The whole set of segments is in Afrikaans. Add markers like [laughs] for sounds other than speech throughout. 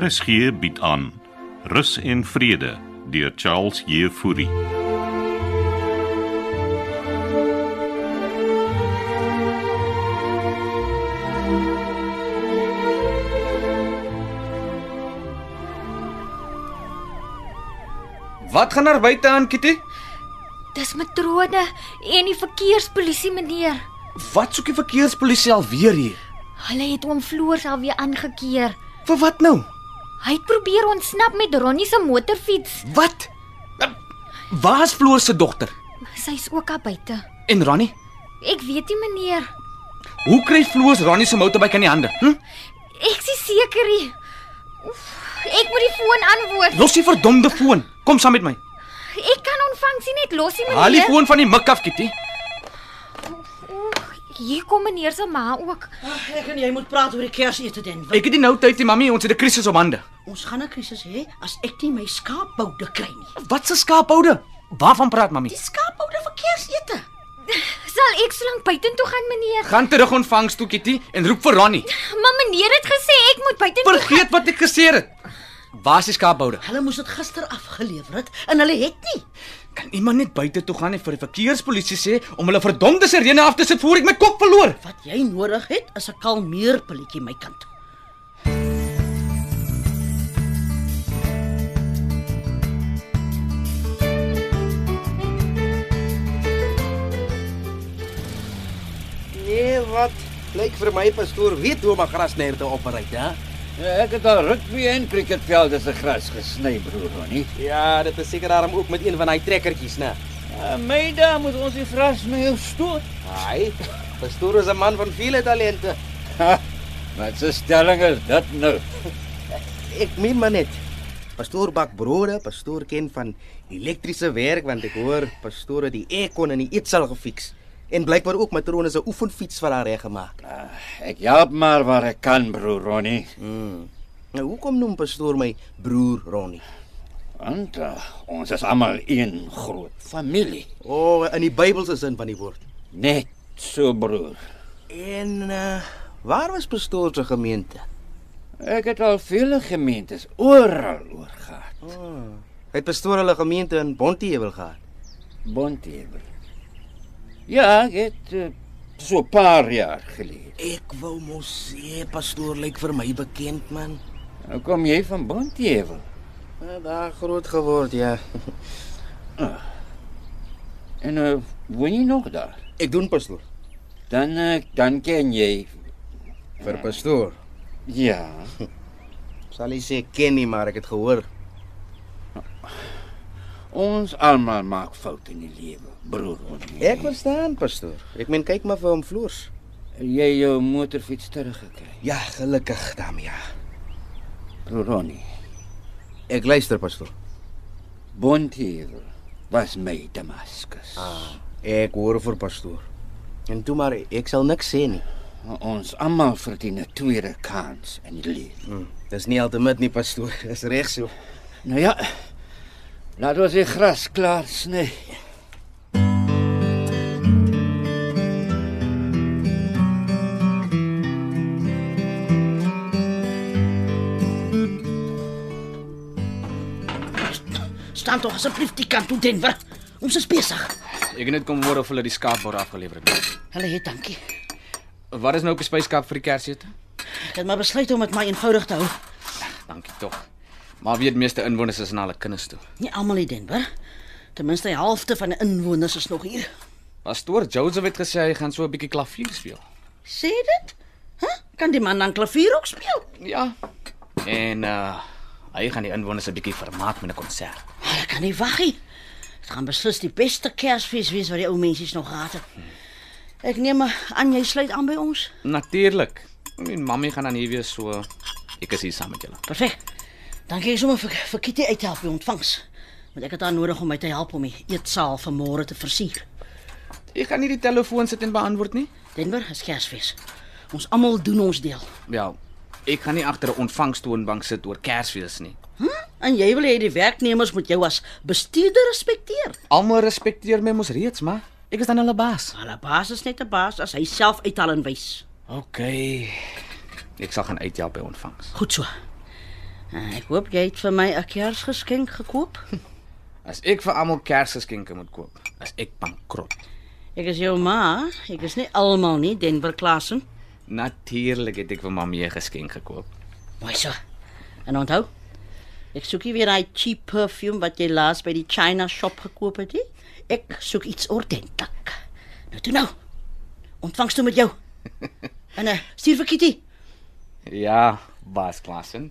RSG bied aan Rus en Vrede deur Charles Jefouri. Wat gaan daar buite aan, Kitty? Dis matrone en die verkeerspolisie meneer. Wat soek die verkeerspolisie alweer hier? Hulle het oom Floors alweer aangekeer. Vir wat nou? Hy het probeer ontsnap met Ronnie se motorfiets. Wat? Ehm, Waar's Floor se dogter? Sy's ook al buite. En Ronnie? Ek weet nie meneer. Hoe kry Floor Ronnie se motorbike in die hande? Hm? Ek is nie seker nie. Oef, Ek moet die foon antwoord. Los die verdomde foon. Kom saam met my. Ek kan ontvang sien net los nie Haal die meneer. foon van die mik af, Kitty. Oef, Hier kom meneer se ma ook. Ag, Ah, ek en jy moet praat oor die Kersete dan. Ek het nie nou tyd nie, mami. Ons het 'n krisis op hande. Ons gaan 'n krisis hê as ek nie my skaapboude kry nie. Wat se skaaphoude? Waarvan praat mami? Die skaapboude vir Kersete. Sal ek so lank buitentoe gaan meneer? Gaan terug ontvangs toe, Kitty, en roep vir Ronnie. Maar meneer het gesê ek moet buitentoe Vergeet wat ek gesê het. Waar's die skaaphoude? Hulle moes dit gister afgelewer het en hulle het nie. Kan iemand net buite toe gaan en vir die verkeerspolisie sê om hulle verdomde sirene af te sit voor ek my kop verloor? Wat jy nodig het is 'n kalmeerpilletjie my kind. Nee, wat? Lyk vir my pastoor weet hoe om 'n grasnerte op te ry, hè? Ja, ek het al rugby en cricketvelde se gras gesny, broer Ronnie. Ja, dit is seker daarom ook met een van daai trekkertjies, né? Uh, my da moet ons die gras mee opstoot. Haai. Pastoor is 'n man van vele talente. Wat 'n stelling is dit nou? Ek meen maar net. Pastoor bak brode, pastoor ken van elektriese werk want ek hoor pastoor het die aircon in die eetsaal gefiks. En blykbaar ook matrone se oefenfiets vir haar reggemaak. Uh, ek help maar waar ek kan, broer Ronnie. Hmm. Nou hoekom noem pastoor my broer Ronnie? Want uh, ons is almal een groot familie. O, oh, in die Bybelse sin van die woord. Net so, broer. En eh, uh, waar was pastoor se gemeente? Ek het al vele gemeentes oral oor gehad. Oh. Hy het pastoor hulle gemeente in Bontheuwel gehad. Bontever. Ja, ek het uh, so 'n paar jaar gelede. Ek wou mos sê pastoor lyk vir my bekend man. Nou kom jy van Bontever. Ja, daar groot geword, ja. En uh, woon jy nog daar? Ek doen pastoor. Dan eh, dan ken jy. Vir pastoor. Ja. Sal hy sê ken nie, maar ek het gehoor. Ons almal maak foute in die lewe, broer. Ronnie. Ek verstaan pastoor. Ek meen kyk maar vir hom floors. jy jou motorfiets teruggekry. Ja, gelukkig daarmee. Ja. Broer Ronnie, Ek luister pastoor. Bontevel was my Damaskus. Ah. Ek hoor vir pastoor. En toe maar ek sal niks sê nie. Ons almal verdien 'n tweede kans in die lewe. Hm. Dis nie altemit nie pastoor. [laughs] Dis reg so. Nou ja. Laat ons die gras klaar sny. Staan tog asseblief die kant toe Denver. Ons is besig. Ek het net kom hoor of hulle die skaapbord afgelewer het. Hulle het dankie. Wat is nou op die spyskaart vir die kersete? Ek het maar besluit om dit maar eenvoudig te hou. Dankie tog. Maar weet meeste inwoners is na hulle kinders toe. Nie almal in Denver. Ten minste die helfte van die inwoners is nog hier. Pastoor Joseph het gesê hy gaan so 'n bietjie klavier speel. Sê dit? Hæ? Huh? Kan die man dan klavier ook speel? Ja. En uh hy gaan die inwoners 'n bietjie vermaak met 'n konsert. Maar ek kan nie wag nie. Dit gaan beslis die beste Kersfees wees wat die ou mensies nog gehad het. Ek neem maar aan jy sluit aan by ons. Natuurlik. Min mammie gaan dan hier weer so ek is hier saam met julle. Perfek. Dankie sommer vir vir Kitty uithelp by ontvangs. Want ek het haar nodig om my te help om die eetsaal vanmôre te versier. Ek gaan nie die telefoon sit en beantwoord nie. Denver, is Kersfees. Ons almal doen ons deel. Ja. Ek gaan nie agter 'n ontvangstoonbank sit oor Kersfees nie. Hm? En jy wil hê die werknemers moet jou as bestuurder respekteer. Almal respekteer my mos reeds, maar ek is dan hulle baas. Hulle baas is net 'n baas as hy self uithaal en wys. OK. Ek sal gaan uithelp by ontvangs. Goed so. Ah, Ek hoop jy het vir my 'n Kersgeskenk gekoop. As ek vir almal Kersgeskenke moet koop, as ek bankrot. Ek is jou ma, ek is nie almal nie, Denver Klasen. Natuurlik het ek vir mamma 'n geskenk gekoop. Mooi so. En onthou, ek soek nie weer daai cheap perfume wat jy laas by die China shop gekoop het nie. Ek soek iets ordentlik. Nou toe nou. Ontvangs toe met jou. En eh, stuur vir Kitty. Ja, baas Klasen.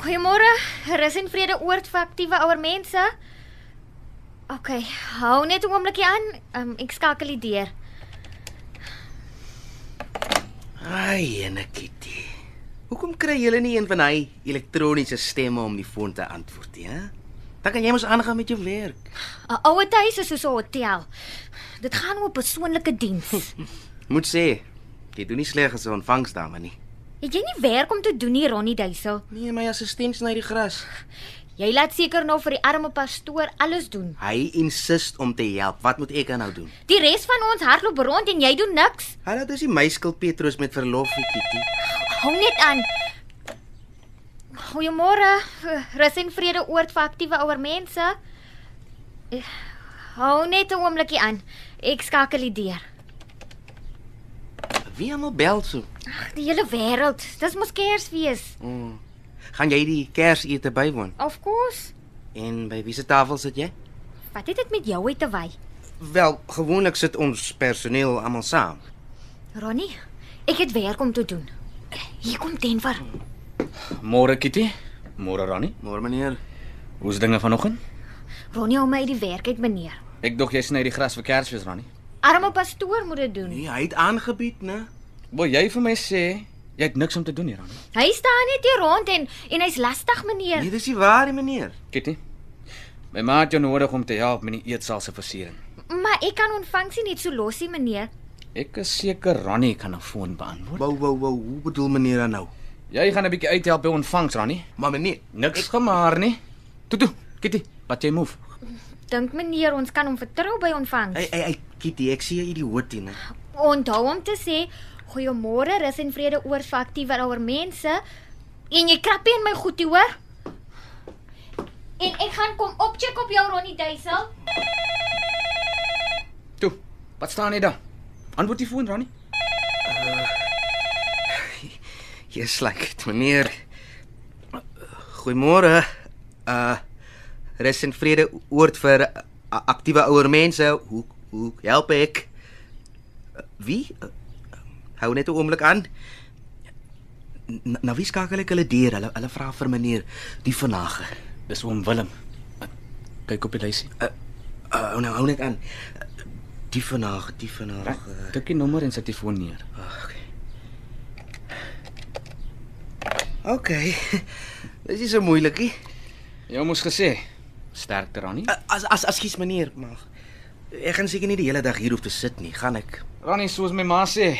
Goeiemôre, rus en vrede oord vir aktiewe ouer mense. OK, hou net 'n oombliekie aan. Um, ek skakel die deur. Ai, Enakiti. Hoekom kry julle nie een van hy elektroniese stemme om die foon te antwoord nie, hè? Dan kan jy mos aangaan met jou werk. 'n Ouer huis is soos 'n hotel. Dit gaan oor persoonlike diens. Moet sê, jy doen nie sleg as 'n ontvangsdame nie. Het jy nie werk om te doen nie, Ronnie Duisel? Nee, my assistent sny die gras. Jy laat seker nou vir die arme pastoor alles doen. Hy insist om te help. Wat moet ek nou doen? Die res van ons hardloop rond en jy doen niks. Hallo, dis die meiskil Petrus met verlof, Kitty. Hou net aan. Goeiemôre, rus en vrede oord vir aktiewe ouer mense. Eh, Hou net 'n oombliekie aan. Ek skakel die deur. Wie almal bel so? Ag, die hele wêreld. Dis mos Kersfees. Mm. Gaan jy die Kersete bywoon? Of course. En by wie se tafel sit jy? Wat het dit met jou uit te wy? Wel, gewoonlik sit ons personeel almal saam. Ronnie, ek het werk om te doen. Hier kom Denver. Môre Kitty, môre Ronnie. Môre meneer, Hoe's dinge vanoggend? Ronnie hou my uit die werk uit, meneer. Ek dog jy sny die gras vir Kersfees, Ronnie. Arme pastoor moet dit doen. nee, hy het aangebied, né? Wil jy vir my sê jy het niks om te doen hier, Ronnie? Hy staan net hier rond en en hy's lastig, meneer. Nee, dis nie waar nie, meneer. Kitty. My ma het jou nodig om te help met die eetsaal se versiering. Maar ek kan ontvang sien net so losie, meneer. Ek is seker Ronnie kan 'n foon beantwoord. Wou wou wou, hoe bedoel meneer dan nou? Jy gaan 'n bietjie uithelp by ontvangs, Ronnie. Maar meneer, Niks gemaar nie. Toe toe, Kitty, wat jy move. Dink meneer ons kan hom vertrou by ontvangs. hey hey hey, Kitty, ek sien jy die hoed hier, né? Onthou om te sê goeiemôre, rus en vrede oor vir aktiewe ouer mense. En jy krappie in my goedie, hoor? En ek gaan kom opcheck op jou Ronnie Duisel. Toe. Wat staan jy daar? Antwoord die foon, Ronnie. Jy slyk dit, meneer. Goeiemôre. Uh rus en vrede oord vir uh, aktiewe ouer mense. Hoe hoe help ek? Uh, Wie? Uh, Hou net 'n oomblik aan. N- Nou wie skakel ek hulle deur? Hulle hulle vra vir meneer die vannage. Dis oom Willem. Kyk op die lysie. Uh, hou nou hou net aan. Uh, Die vannage, die vannage. Tik die nommer en sit die foon neer. OK. [laughs] Dis nie so moeilikie. Jy moes gesê Eh, sterkte, Ronnie. Eh, As as as skies meneer, maar ek gaan seker nie die hele dag hier hoef te sit nie, gaan ek. Ronnie, soos my ma sê,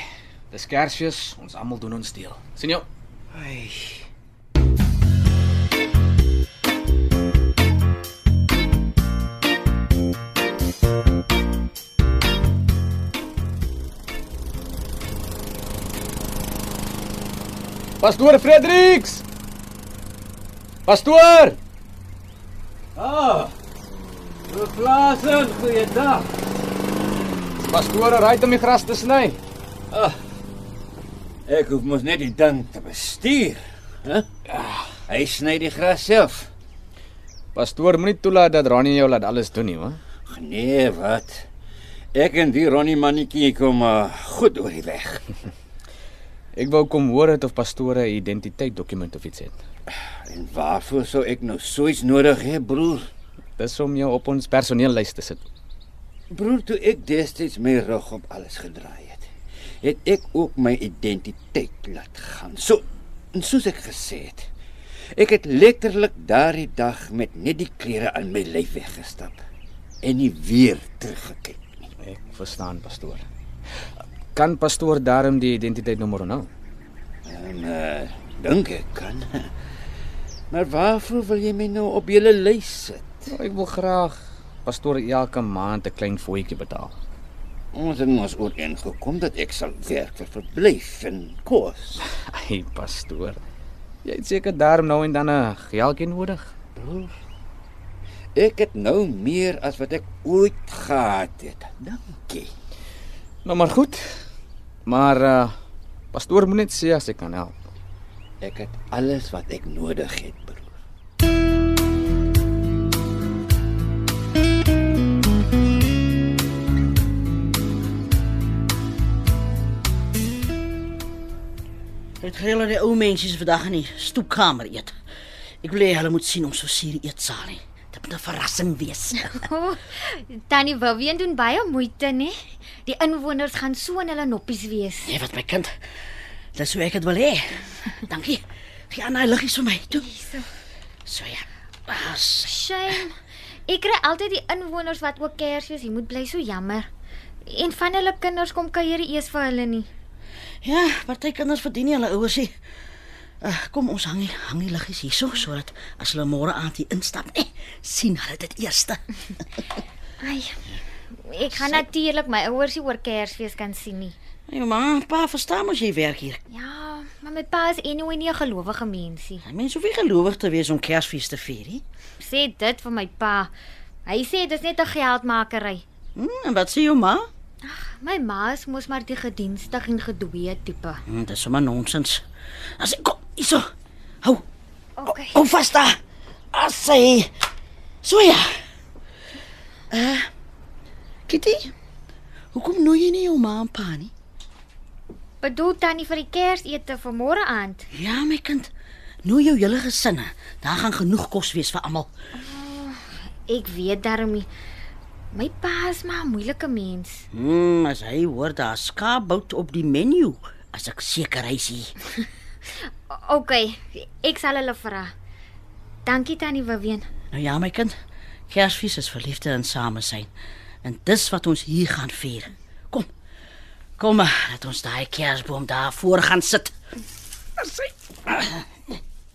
dis Kersfees, ons almal doen ons deel. sien jou. Ai. Pastoor Fredericks. Pastoor. Ah. Plasen, goeiedag. Pastoor ry om die gras te sny. Ek hoef mos net die ding te bestuur, hè? Hy sny die gras self. Pastoor moenie toelaat dat Ronnie jou laat alles doen nie, hoor. Ag, Nee, wat? Ek en die Ronnie mannetjie kom uh, goed oor die weg. Ek wou kom hoor het of pastoor 'n identiteitsdokument of iets het. En waarvoor sou ek nou so iets nodig hê, broer? Dis om jou op ons personeellys te sit. Broer, toe ek destyds my rug op alles gedraai het, het ek ook my identiteit laat gaan. So, en soos ek gesê het, ek het letterlik daardie dag met net die klere aan my lyf weggestap en nie weer teruggekyk nie. Ek verstaan, pastoor. Kan pastoor daarom nou eh, die identiteitsnommer onthou? En uh, dink ek kan. [laughs] Maar waarvoor wil jy my nou op julle lys sit? Nou, ek wil graag pastoor elke maand 'n klein fooietjie betaal. [laughs] Ons het mos ooreengekom dat ek sal werk vir verblyf en kos. Ai, pastoor. Jy het seker daarom nou en dan 'n geldjie nodig. Broer, ek het nou meer as wat ek ooit gehad het. Dankie. Nou maar goed. Maar uh pastoor moet net sê as ek kan help. Ek het alles wat ek nodig het, broer. Dit gaan hulle die ou mensies vandag in die stoepkamer eet. Ek wil hê hulle moet sien ons versier eetsaal nie. Dit moet 'n verrassing wees. Oh, Tannie Vivian doen baie moeite, nê? Die inwoners gaan so in hulle noppies wees. Nee, wat my kind. Dis hoe ek dit wil hê. [laughs] Dankie. Gee aan hy liggies vir my. Toe. So ja. As Shame. Ek kry altyd die inwoners wat ook Kersfees, jy moet bly so jammer. En van hulle kinders kom kuier nie eers vir hulle nie. Ja, party kinders verdien nie hulle ouers nie. Uh, kom ons hang die hang die liggies hierso sodat as hulle môre aand hier instap, eh, sien hulle dit eerste. Ai. Ek gaan natuurlik my ouers nie oor Kersfees kan sien nie. Jou ma, en pa, verstaan mos jy werk hier. Ja, maar my pa is anyway nie 'n gelowige mensie. Mense hoef nie gelowig te wees om Kersfees te vier nie. Sê dit vir my pa. Hy sê dis net 'n geldmakery. Hm, en wat sê jou ma? My ma is mos maar die gedienstig en gedwee tipe. Hm, dis sommer nonsens. As ek kom, hierso. Hou, Okay. hou vas daar. Assai. So ja. Uh, Eh, Kitty, hoekom nooi jy nie jou ma en pa nie? Bedoel tannie vir die Kersete vir môre aand. Ja, my kind. Nooi jou hele gesinne. Daar gaan genoeg kos wees vir almal. Ek weet darm nie. My pa is maar 'n moeilike mens. Hm, as hy hoor daar skaapbout op die menu, as ek seker hy sien. O- Okay, ek sal hulle vra. Dankie tannie Vivian. Nou ja, my kind. Kersfees is vir liefde en same wees. En dis wat ons hier gaan vier. Kom. Kom maar, laat ons daai kersboom daar voor gaan sit.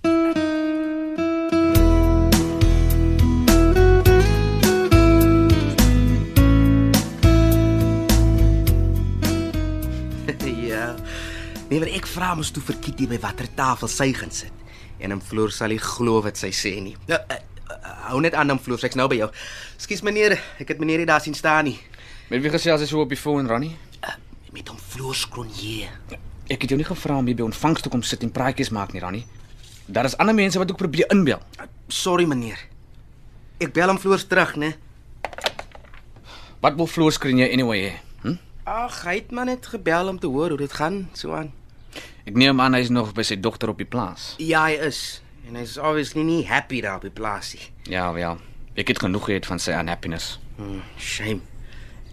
[laughs] ja. Nee, maar ek vra mos toe vir Kitty by watter tafel sy gaan sit. En hom vloer sal hy glo wat sy sê nie. Nou, uh, uh, hou net aan hom vloer, ek's nou by jou. Ekskuus meneer, ek het meneer nie daar sien staan nie. Met wie gesels jy so op die foon, Ronnie? Uh, met hom vloer skroon hier. Ek het jou nie gevra om hier by ontvangs toe kom sit en praatjies maak nie, Ronnie. Daar is ander mense wat ook probeer inbel. Uh, sorry meneer. Ek bel hom vloer terug, né? Wat wil floor skree jy anyway hê? Hm? Ag, hy het maar net gebel om te hoor hoe dit gaan, so aan. Ek neem aan hy is nog by sy dogter op die plaas. Ja, hy is. En hy's obviously nie happy daar by plaasie. Ja, ja. Ek het genoeg gehad van sy unhappiness. Hmm, shame.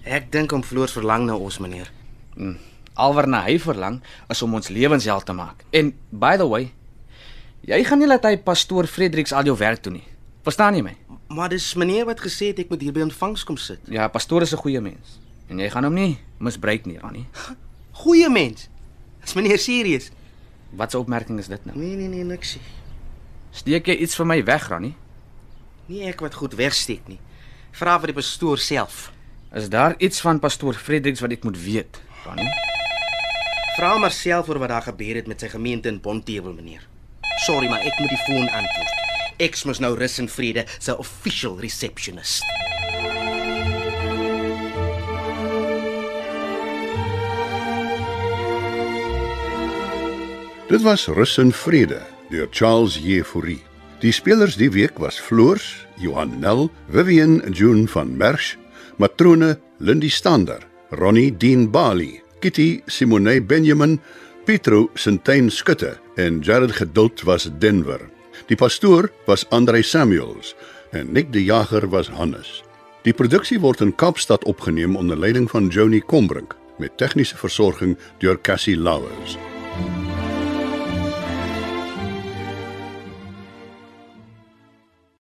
Ek dink om vloer verlang na ons meneer. Hm. Alwaarna hy verlang is om ons lewens hel te maak. En by the way, jy gaan nie laat hy pastoor Fredericks al jou werk doen nie. Verstaan jy my? Maar dis meneer wat gesê het ek moet hier by ontvangs kom sit. Ja, pastoor is 'n goeie mens en jy gaan hom nie misbruik nie, Ronnie. Goeie mens. Is meneer serieus? Wat 'n opmerking is dit nou? Nee nee nee, niks. nie. Steek jy iets vir my weg, Ronnie? Nie ek wat goed wegsteek nie. Vra vir die pastoor self. Is daar iets van pastoor Fredericks wat ek moet weet, Ronnie? Vra maar self oor wat daar gebeur het met sy gemeente in Bontebel meneer. Sorry, maar ek moet die foon antwoord. Ek is mos nou rus en vrede se official receptionist. Dit was Rus en Vrede deur Charles Jefouri. Die spelers die week was Floors, Johan Nel, Vivian June van Merch, matrone Lindy Stander, Ronnie Dean Bali, Kitty Simone Benjamin, Pietro Sintyn Skutte en Jared Geduld was Denver. Die pastoor was Andrei Samuels en Nick die Jager was Hannes. Die produksie word in Kaapstad opgeneem onder leiding van Johnny Combrink met tegniese versorging deur Cassie Louws.